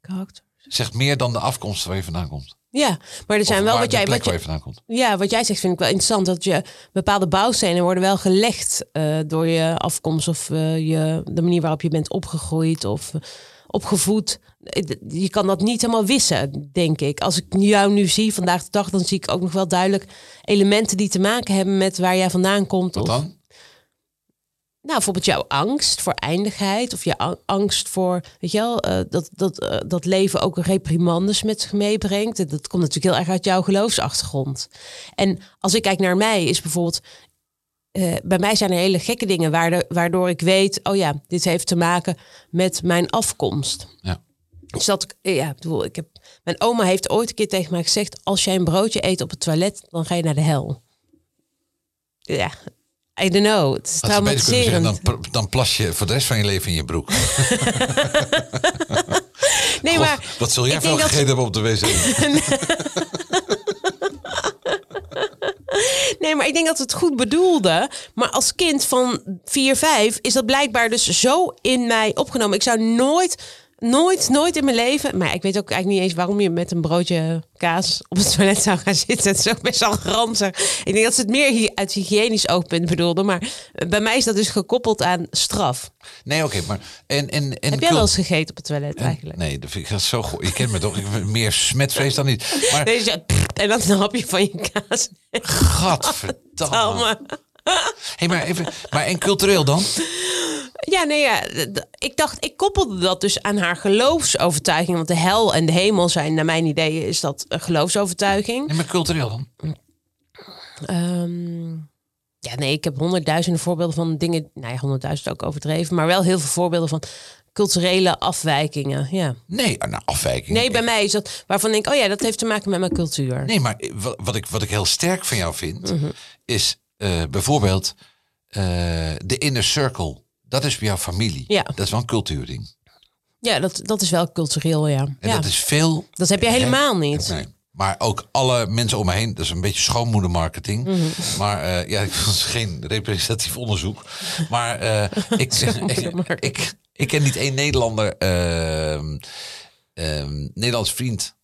Speaker 3: Karakter.
Speaker 2: Zegt meer dan de afkomst waar je vandaan komt.
Speaker 3: Ja, maar er zijn wel
Speaker 2: Waar
Speaker 3: wat
Speaker 2: de
Speaker 3: jij,
Speaker 2: plek
Speaker 3: wat
Speaker 2: waar
Speaker 3: je-
Speaker 2: je vandaan komt.
Speaker 3: ja, wat jij zegt vind ik wel interessant. Dat je bepaalde bouwstenen worden wel gelegd eh, door je afkomst of eh, je, de manier waarop je bent opgegroeid of eh, opgevoed. Eh, Je kan dat niet helemaal wissen, denk ik. Als ik jou nu zie vandaag de dag, dan zie ik ook nog wel duidelijk elementen die te maken hebben met waar jij vandaan komt.
Speaker 2: Wat
Speaker 3: of,
Speaker 2: dan?
Speaker 3: Nou, bijvoorbeeld jouw angst voor eindigheid of je a- angst voor, weet je wel, eh, dat, dat, eh, dat leven ook reprimandes met zich meebrengt. En Dat komt natuurlijk heel erg uit jouw geloofsachtergrond. En als ik kijk naar mij, is bijvoorbeeld, eh, bij mij zijn er hele gekke dingen waarde- waardoor ik weet, oh ja, dit heeft te maken met mijn afkomst.
Speaker 2: Ja.
Speaker 3: Dus dat, ik- eh, ja, ik bedoel, ik heb, mijn oma heeft ooit een keer tegen mij gezegd, als jij een broodje eet op het toilet, dan ga je naar de hel. Ja, I don't know. Het is
Speaker 2: Had ze beter kunnen zeggen,
Speaker 3: traumatiserend.
Speaker 2: dan, pr- dan plas je voor de rest van je leven in je broek.
Speaker 3: Nee,
Speaker 2: God,
Speaker 3: maar
Speaker 2: wat zul
Speaker 3: ik
Speaker 2: jij
Speaker 3: denk
Speaker 2: veel
Speaker 3: dat ze-
Speaker 2: gegeten hebben op de wc?
Speaker 3: Nee, maar ik denk dat ze het goed bedoelde. Maar als kind van 4, 5 is dat blijkbaar dus zo in mij opgenomen. Ik zou nooit, nooit, nooit in mijn leven. Maar ik weet ook eigenlijk niet eens waarom je met een broodje kaas op het toilet zou gaan zitten. Het is ook best wel ranzig. Ik denk dat ze het meer hy- uit hygiënisch oogpunt bedoelde. Maar eh, bij mij is dat dus gekoppeld aan straf.
Speaker 2: Nee, oké, maar... En, en, en
Speaker 3: Heb jij wel
Speaker 2: cult-
Speaker 3: eens gegeten op het toilet eigenlijk?
Speaker 2: Nee, dat vind ik dat is zo goed. Je kent me toch? Ik ben meer smetvrees dan niet. Maar
Speaker 3: Nee, dus ja, pff, en dan een hapje van je kaas.
Speaker 2: gadverdamme.
Speaker 3: Allemaal.
Speaker 2: Hey, maar, even, maar en cultureel dan?
Speaker 3: Ja, nee, ja. d- d- ik dacht, ik koppelde dat dus aan haar geloofsovertuiging. Want de hel en de hemel zijn, naar mijn idee, is dat een geloofsovertuiging.
Speaker 2: Nee, maar cultureel dan?
Speaker 3: Ehm, ja, nee, ik heb honderdduizenden voorbeelden van dingen. Nou ja, honderdduizend ook overdreven. Maar wel heel veel voorbeelden van culturele afwijkingen. Ja.
Speaker 2: Nee, nou, afwijking.
Speaker 3: Nee, bij mij is dat waarvan ik, oh ja, dat heeft te maken met mijn cultuur.
Speaker 2: Nee, maar eh, wa- wat ik, wat ik heel sterk van jou vind,
Speaker 3: Mhm.
Speaker 2: is eh, bijvoorbeeld eh, de inner circle. Dat is bij jouw familie.
Speaker 3: Ja.
Speaker 2: Dat is wel een cultuurding.
Speaker 3: Ja, dat, dat is wel cultureel, ja.
Speaker 2: En
Speaker 3: ja.
Speaker 2: dat is veel.
Speaker 3: Dat heb je helemaal niet.
Speaker 2: Nee. Maar ook alle mensen om me heen, dat is een beetje schoonmoedermarketing. Maar eh, ja, dat is geen representatief onderzoek. Maar eh, ik, ik, ik, ik ken niet één Nederlander, ehm, ehm, Nederlands vriend,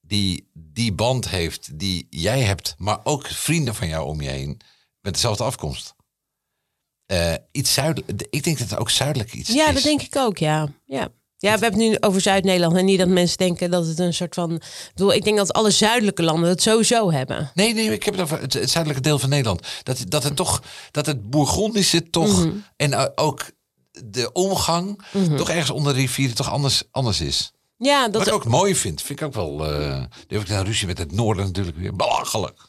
Speaker 2: die die band heeft die jij hebt, maar ook vrienden van jou om je heen met dezelfde afkomst. Eh, iets zuidelijk. Ik denk dat het ook zuidelijk iets is.
Speaker 3: Ja, dat denk ik ook, ja. ja. Ja, we hebben het nu over Zuid-Nederland. En niet dat mensen denken dat het een soort van... Ik bedoel, ik denk dat alle zuidelijke landen het sowieso hebben.
Speaker 2: Nee, nee, ik heb het over het, het zuidelijke deel van Nederland. Dat, dat het toch, dat het Bourgondische toch,
Speaker 3: Mhm.
Speaker 2: en eh, ook de omgang, toch ergens onder de rivieren toch anders, anders is.
Speaker 3: Ja, Mhm. dat
Speaker 2: Wat ik ook mooi vind, vind ik ook wel. eh nu heb ik nou ruzie met het noorden natuurlijk weer. Belachelijk.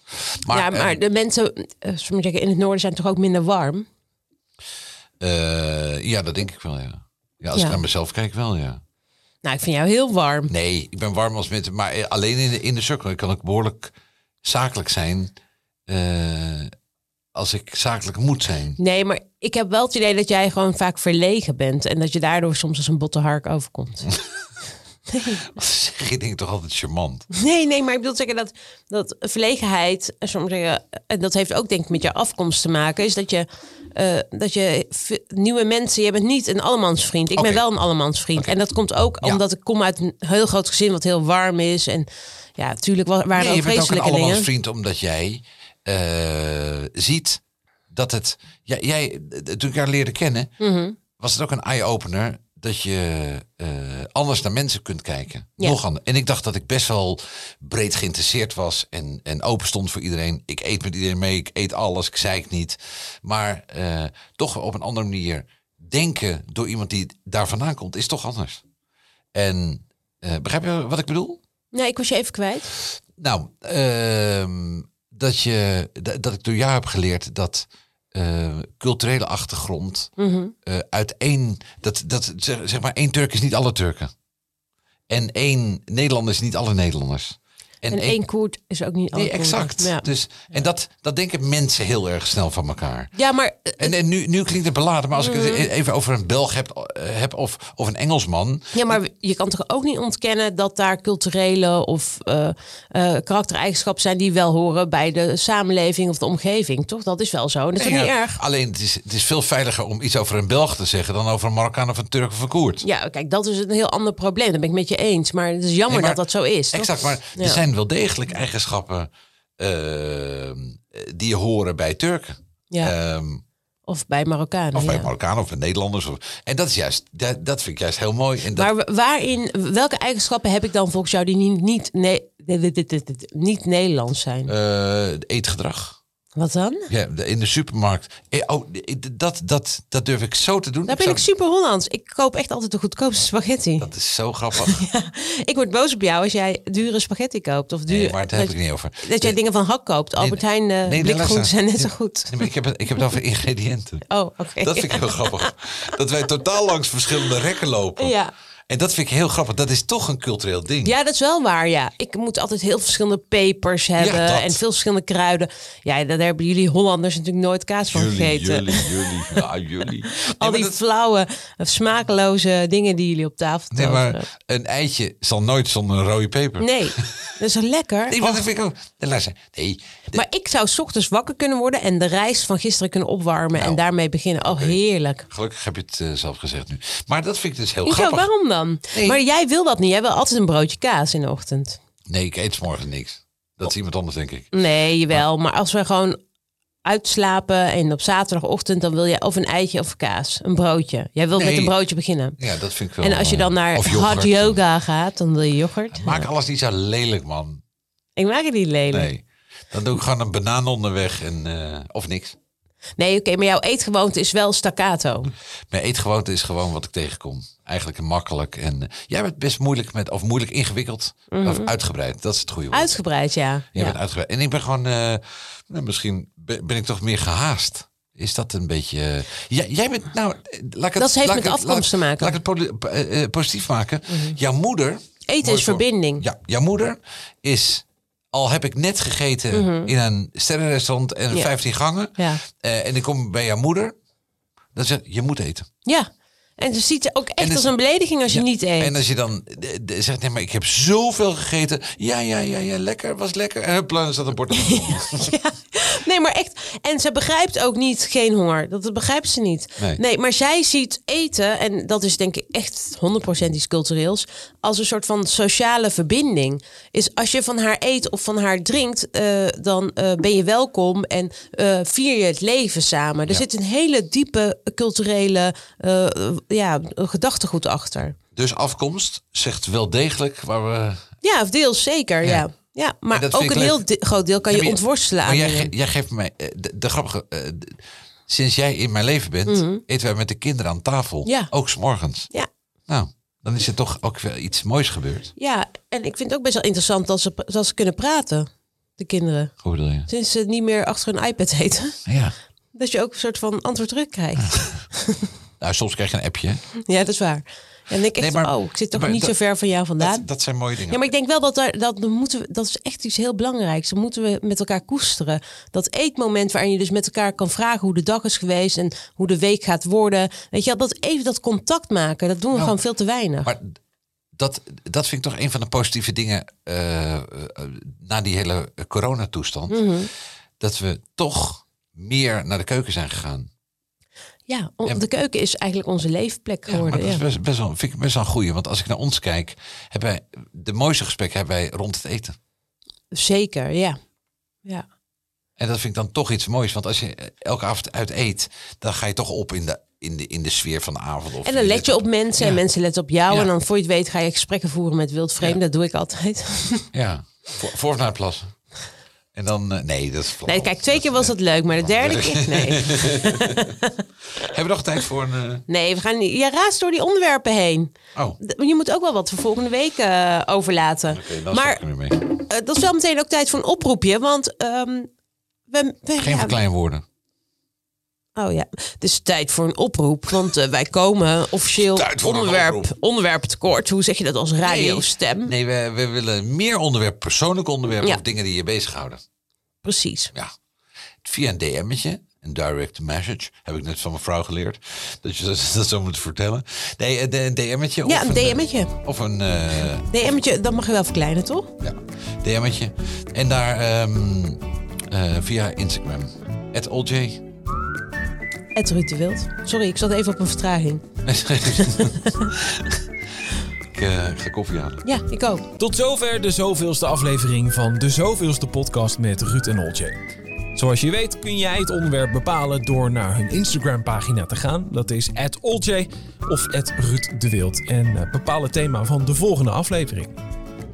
Speaker 2: Maar,
Speaker 3: ja, maar
Speaker 2: eh,
Speaker 3: de mensen eh, zullen we maar zeggen, in het noorden zijn toch ook minder warm?
Speaker 2: eh, ja, dat denk ik wel, ja. Ja, als
Speaker 3: Ja.
Speaker 2: ik naar mezelf kijk, wel, ja.
Speaker 3: Nou, ik vind jou heel warm.
Speaker 2: Nee, ik ben warm als mensen, maar eh, alleen in de, in de cirkel. Ik kan ook behoorlijk zakelijk zijn eh, als ik zakelijk moet zijn.
Speaker 3: Nee, maar ik heb wel het idee dat jij gewoon vaak verlegen bent. En dat je daardoor soms als een botte hark overkomt.
Speaker 2: Dat zeg je dingen toch altijd charmant.
Speaker 3: Nee, nee, maar ik bedoel te zeggen dat, dat verlegenheid, eh, soms zeggen, en dat heeft ook denk ik met je afkomst te maken, is dat je, eh, dat je v- nieuwe mensen, je bent niet een allemansvriend. Ik
Speaker 2: Oké.
Speaker 3: ben wel een allemansvriend. En dat komt ook
Speaker 2: Ja.
Speaker 3: omdat ik kom uit een heel groot gezin wat heel warm is. En ja, natuurlijk wa- waren
Speaker 2: Nee,
Speaker 3: er
Speaker 2: je
Speaker 3: ook
Speaker 2: bent ook een
Speaker 3: vreselijke dingen.
Speaker 2: allemansvriend omdat jij eh, ziet dat het... Ja, jij, eh, toen ik haar leerde kennen,
Speaker 3: Mhm.
Speaker 2: was het ook een eye-opener dat je eh, anders naar mensen kunt kijken.
Speaker 3: Ja.
Speaker 2: Nog anders. En ik dacht dat ik best wel breed geïnteresseerd was en, en open stond voor iedereen. Ik eet met iedereen mee, ik eet alles, ik zeik niet. Maar eh, toch op een andere manier denken door iemand die daar vandaan komt, is toch anders. En eh, begrijp je wat ik bedoel?
Speaker 3: Nee, ik was je even kwijt.
Speaker 2: Nou, ehm, dat, je, dat, dat ik door jou heb geleerd dat eh, culturele achtergrond
Speaker 3: Mhm.
Speaker 2: eh, uit één, dat, dat zeg, zeg maar één Turk is niet alle Turken. En één Nederlander is niet alle Nederlanders.
Speaker 3: En één Koerd is ook niet
Speaker 2: Nee,
Speaker 3: alle Koerden.
Speaker 2: exact.
Speaker 3: Ja.
Speaker 2: Dus, en dat, dat denken mensen heel erg snel van elkaar.
Speaker 3: ja, maar eh,
Speaker 2: En, en nu, nu klinkt het beladen, maar als ik het
Speaker 3: Mm.
Speaker 2: e- even over een Belg heb, eh, heb of, of een Engelsman.
Speaker 3: Ja, maar je kan toch ook niet ontkennen dat daar culturele of eh, eh, karaktereigenschappen zijn die wel horen bij de samenleving of de omgeving, toch? Dat is wel zo. En dat is toch
Speaker 2: Ja,
Speaker 3: niet erg?
Speaker 2: Alleen het is, het is veel veiliger om iets over een Belg te zeggen dan over een Marokkaan of een Turk of een Koerd.
Speaker 3: Ja, kijk, dat is een heel ander probleem. Dat ben ik met je eens. Maar het is jammer
Speaker 2: Nee, maar-
Speaker 3: dat dat zo is. toch?
Speaker 2: Exact, maar
Speaker 3: Ja.
Speaker 2: er zijn wel degelijk eigenschappen ehm, die horen bij Turken.
Speaker 3: Ja.
Speaker 2: Ehm,
Speaker 3: Of bij Marokkanen.
Speaker 2: of bij
Speaker 3: ja.
Speaker 2: Marokkanen of bij Nederlanders. Of, en dat, is juist, dat, dat vind ik juist heel mooi. En dat,
Speaker 3: Maar wa- waarin, welke eigenschappen heb ik dan volgens jou die niet, niet, nee, dit- dit- dit- dit- dit- niet Nederlands zijn?
Speaker 2: eh, eetgedrag.
Speaker 3: Wat dan?
Speaker 2: Ja, de- in de supermarkt. Eh, Oh, eh, dat, dat, dat durf ik zo te doen.
Speaker 3: Daar ben
Speaker 2: zou-
Speaker 3: ik super Hollands. Ik koop echt altijd de goedkoopste spaghetti.
Speaker 2: Dat is zo grappig.
Speaker 3: Ik word boos op jou als jij dure spaghetti koopt. Of duur,
Speaker 2: Nee, maar daar heb ik niet over.
Speaker 3: Dat jij dingen van hak koopt. Albert Heijn eh
Speaker 2: nee,
Speaker 3: blikgroenten
Speaker 2: luister.
Speaker 3: zijn net zo goed.
Speaker 2: Nee, maar ik, heb het, ik heb het over ingrediënten.
Speaker 3: Oh, oké.
Speaker 2: Dat vind ik heel grappig. Dat wij totaal langs verschillende rekken lopen.
Speaker 3: Ja.
Speaker 2: En dat vind ik heel grappig. Dat is toch een cultureel ding.
Speaker 3: Ja, dat is wel waar, ja. Ik moet altijd heel verschillende pepers hebben
Speaker 2: dat.
Speaker 3: en veel verschillende kruiden. Ja, daar hebben jullie Hollanders natuurlijk nooit kaas van gegeten.
Speaker 2: Jullie, jullie, ja, jullie.
Speaker 3: Al
Speaker 2: nee, maar
Speaker 3: die
Speaker 2: dat-
Speaker 3: flauwe, eh, smakeloze dingen die jullie op tafel
Speaker 2: nee,
Speaker 3: toveren.
Speaker 2: maar een eitje zal nooit zonder een rode peper.
Speaker 3: Nee, dat is toch lekker?
Speaker 2: Nee, want dat vind ik ook. Nee, luister. Nee, de-
Speaker 3: Maar ik zou 's ochtends wakker kunnen worden en de rijst van gisteren kunnen opwarmen
Speaker 2: Nou.
Speaker 3: en daarmee beginnen. Oh, heerlijk.
Speaker 2: gelukkig heb je het eh, zelf gezegd nu. Maar dat vind ik dus heel
Speaker 3: Hoezo,
Speaker 2: grappig.
Speaker 3: waarom dan?
Speaker 2: Nee.
Speaker 3: Maar jij wil dat niet. Jij wil altijd een broodje kaas in de ochtend.
Speaker 2: Nee, ik eet 's morgen niks. Dat is iemand anders, denk ik.
Speaker 3: Nee, jawel. Maar als we gewoon uitslapen en op zaterdagochtend, dan wil je of een eitje of kaas. Een broodje. Jij wilt met
Speaker 2: Nee.
Speaker 3: een broodje beginnen.
Speaker 2: Ja, dat vind ik wel.
Speaker 3: En als je
Speaker 2: eh,
Speaker 3: dan naar
Speaker 2: of
Speaker 3: hard
Speaker 2: yoghurt.
Speaker 3: yoga gaat, dan wil je yoghurt.
Speaker 2: Maak alles niet zo lelijk, man.
Speaker 3: Ik maak het niet lelijk. Nee,
Speaker 2: Nee. Dan doe ik gewoon een banaan onderweg en, eh, of niks.
Speaker 3: oké, maar jouw eetgewoonte is wel staccato.
Speaker 2: Mijn eetgewoonte is gewoon wat ik tegenkom. Eigenlijk makkelijk. En eh, jij bent best moeilijk met, of moeilijk ingewikkeld. Of uitgebreid. Dat is het goede woord.
Speaker 3: Mhm. Uitgebreid, ja.
Speaker 2: Jij
Speaker 3: ja.
Speaker 2: bent uitgebreid. En ik ben gewoon, eh, nou, misschien be- ben ik toch meer gehaast. Is dat een beetje. eh, jij- jij bent, nou, eh, laat ik het,
Speaker 3: Dat heeft
Speaker 2: laat
Speaker 3: met
Speaker 2: ik het-
Speaker 3: afkomst
Speaker 2: laat ik-
Speaker 3: te maken. Mhm.
Speaker 2: Laat ik het poli- po- eh, eh, positief maken. Jouw moeder.
Speaker 3: Eten
Speaker 2: Mooi
Speaker 3: is
Speaker 2: voor-
Speaker 3: verbinding.
Speaker 2: Ja, jouw moeder is. Al heb ik net gegeten in een sterrenrestaurant en
Speaker 3: Mhm. Ja.
Speaker 2: 15 gangen.
Speaker 3: Ja.
Speaker 2: eh, en ik kom bij jouw moeder. Dan zegt je moet eten.
Speaker 3: Ja. En ze ziet het ook echt
Speaker 2: het-
Speaker 3: als een belediging als je niet eet.
Speaker 2: En als je dan eh, eh, zegt, nee, maar ik heb zoveel gegeten. Ja, ja, ja, ja, lekker, was lekker. En hup, dan staat een bord. op de grond.
Speaker 3: Nee, maar echt. En ze begrijpt ook niet geen honger. Dat, dat begrijpt ze niet.
Speaker 2: Nee.
Speaker 3: maar zij ziet eten, en dat is denk ik echt 100% iets cultureels, als een soort van sociale verbinding. Is als je van haar eet of van haar drinkt, eh, dan eh, ben je welkom en eh, vier je het leven samen. Er zit een hele diepe culturele eh, ja, gedachtegoed achter.
Speaker 2: Dus afkomst zegt wel degelijk waar we...
Speaker 3: Ja, of deels zeker, ja.
Speaker 2: Ja.
Speaker 3: ja. maar
Speaker 2: dat
Speaker 3: ook
Speaker 2: vind ik
Speaker 3: een heel
Speaker 2: leuk.
Speaker 3: de- groot deel kan
Speaker 2: Ja,
Speaker 3: je
Speaker 2: maar
Speaker 3: ontworstelen
Speaker 2: Maar
Speaker 3: aan
Speaker 2: jij,
Speaker 3: hierin.
Speaker 2: ge- jij geeft mij eh, de, de grappige... eh, de- sinds jij in mijn leven bent, eten wij met de kinderen aan tafel.
Speaker 3: Mhm. Ja.
Speaker 2: Ook s'morgens.
Speaker 3: Ja.
Speaker 2: Nou, dan is er toch ook wel iets moois gebeurd.
Speaker 3: ja, en ik vind het ook best wel interessant dat ze, dat ze kunnen praten, de kinderen.
Speaker 2: Hoe bedoel je? Nou
Speaker 3: Sinds ze niet meer achter hun iPad heten.
Speaker 2: Ja.
Speaker 3: Dat je ook een soort van antwoord terug krijgt.
Speaker 2: Nou, soms krijg je een appje. hè.
Speaker 3: Ja, dat is waar. En ik echt,
Speaker 2: Nee, maar-
Speaker 3: van, oh, ik zit toch
Speaker 2: maar
Speaker 3: niet
Speaker 2: dat-
Speaker 3: zo ver van jou vandaan.
Speaker 2: Dat, dat zijn mooie dingen.
Speaker 3: Ja, maar ik denk wel dat daar, dat moeten we, dat is echt iets heel belangrijks. Dat moeten we met elkaar koesteren. Dat eetmoment waarin je dus met elkaar kan vragen hoe de dag is geweest en hoe de week gaat worden. Weet je, wel, dat even dat contact maken, dat doen we gewoon veel te weinig.
Speaker 2: Maar dat, dat vind ik toch een van de positieve dingen eh, eh, na die hele coronatoestand.
Speaker 3: Mhm.
Speaker 2: Dat we toch meer naar de keuken zijn gegaan.
Speaker 3: ja, om-
Speaker 2: Ja, maar-
Speaker 3: de keuken is eigenlijk onze leefplek
Speaker 2: Ja, maar
Speaker 3: geworden.
Speaker 2: dat is
Speaker 3: Ja,
Speaker 2: best, best wel, vind ik best wel een goeie. Want als ik naar ons kijk, hebben wij de mooiste gesprekken hebben wij rond het eten.
Speaker 3: Zeker, ja. ja.
Speaker 2: En dat vind ik dan toch iets moois. Want als je eh, elke avond uit eet, dan ga je toch op in de, in de, in de sfeer van de avond. Of
Speaker 3: En dan
Speaker 2: in
Speaker 3: let je op mensen en
Speaker 2: Ja.
Speaker 3: mensen letten op jou.
Speaker 2: Ja.
Speaker 3: En dan voor je het weet ga je gesprekken voeren met wildvreemden. Dat doe ik altijd.
Speaker 2: Ja, voor, voor of naar het plassen. En dan, eh, nee, dat is flauw.
Speaker 3: Nee, kijk, twee keer was dat leuk, maar de derde keer... Nee,
Speaker 2: Hebben we nog tijd voor een... eh,
Speaker 3: nee we gaan niet... Je raast door die onderwerpen heen.
Speaker 2: Oh,
Speaker 3: D- Je moet ook wel wat voor volgende week eh, overlaten.
Speaker 2: oké, dan stop
Speaker 3: maar
Speaker 2: ik er weer mee.
Speaker 3: eh, dat is wel meteen ook tijd voor een oproepje. Want ehm, we, we-
Speaker 2: Geen
Speaker 3: ja,
Speaker 2: verkleinwoorden.
Speaker 3: Oh ja, het is tijd voor een oproep. Want eh, wij komen officieel
Speaker 2: Tijd voor een
Speaker 3: onderwerp,
Speaker 2: oproep.
Speaker 3: onderwerp tekort. Hoe zeg je dat als radiostem?
Speaker 2: Nee, we, we willen meer onderwerpen, persoonlijke onderwerpen
Speaker 3: Ja.
Speaker 2: of dingen die je bezighouden.
Speaker 3: Precies.
Speaker 2: Ja. Via een DM'tje, een direct message, heb ik net van mijn vrouw geleerd. Dat je dat, dat zo moet vertellen. Nee, een- een DM'tje. of
Speaker 3: Ja, een
Speaker 2: eh,
Speaker 3: DM'tje.
Speaker 2: Of een eh,
Speaker 3: DM'tje, dat mag je wel verkleinen, toch?
Speaker 2: ja, DM'tje. En daar ehm, eh, via Instagram. At oldj.
Speaker 3: Het Ruud de Wild. Sorry, ik zat even op een vertraging.
Speaker 2: ik eh, ik ga koffie halen.
Speaker 3: Ja, ik ook.
Speaker 1: Tot zover de zoveelste aflevering van de zoveelste podcast met Ruud en Oltje. Zoals je weet kun jij het onderwerp bepalen door naar hun Instagram pagina te gaan. Dat is @oltje of @ruud de Wild en eh, bepaal het thema van de volgende aflevering.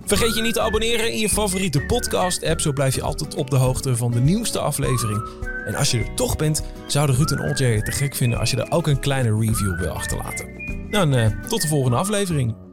Speaker 1: Vergeet je niet te abonneren in je favoriete podcast-app, zo blijf je altijd op de hoogte van de nieuwste aflevering. En als je er toch bent, zouden Ruud en Oltje het te gek vinden als je er ook een kleine review wil achterlaten. Dan eh, tot de volgende aflevering.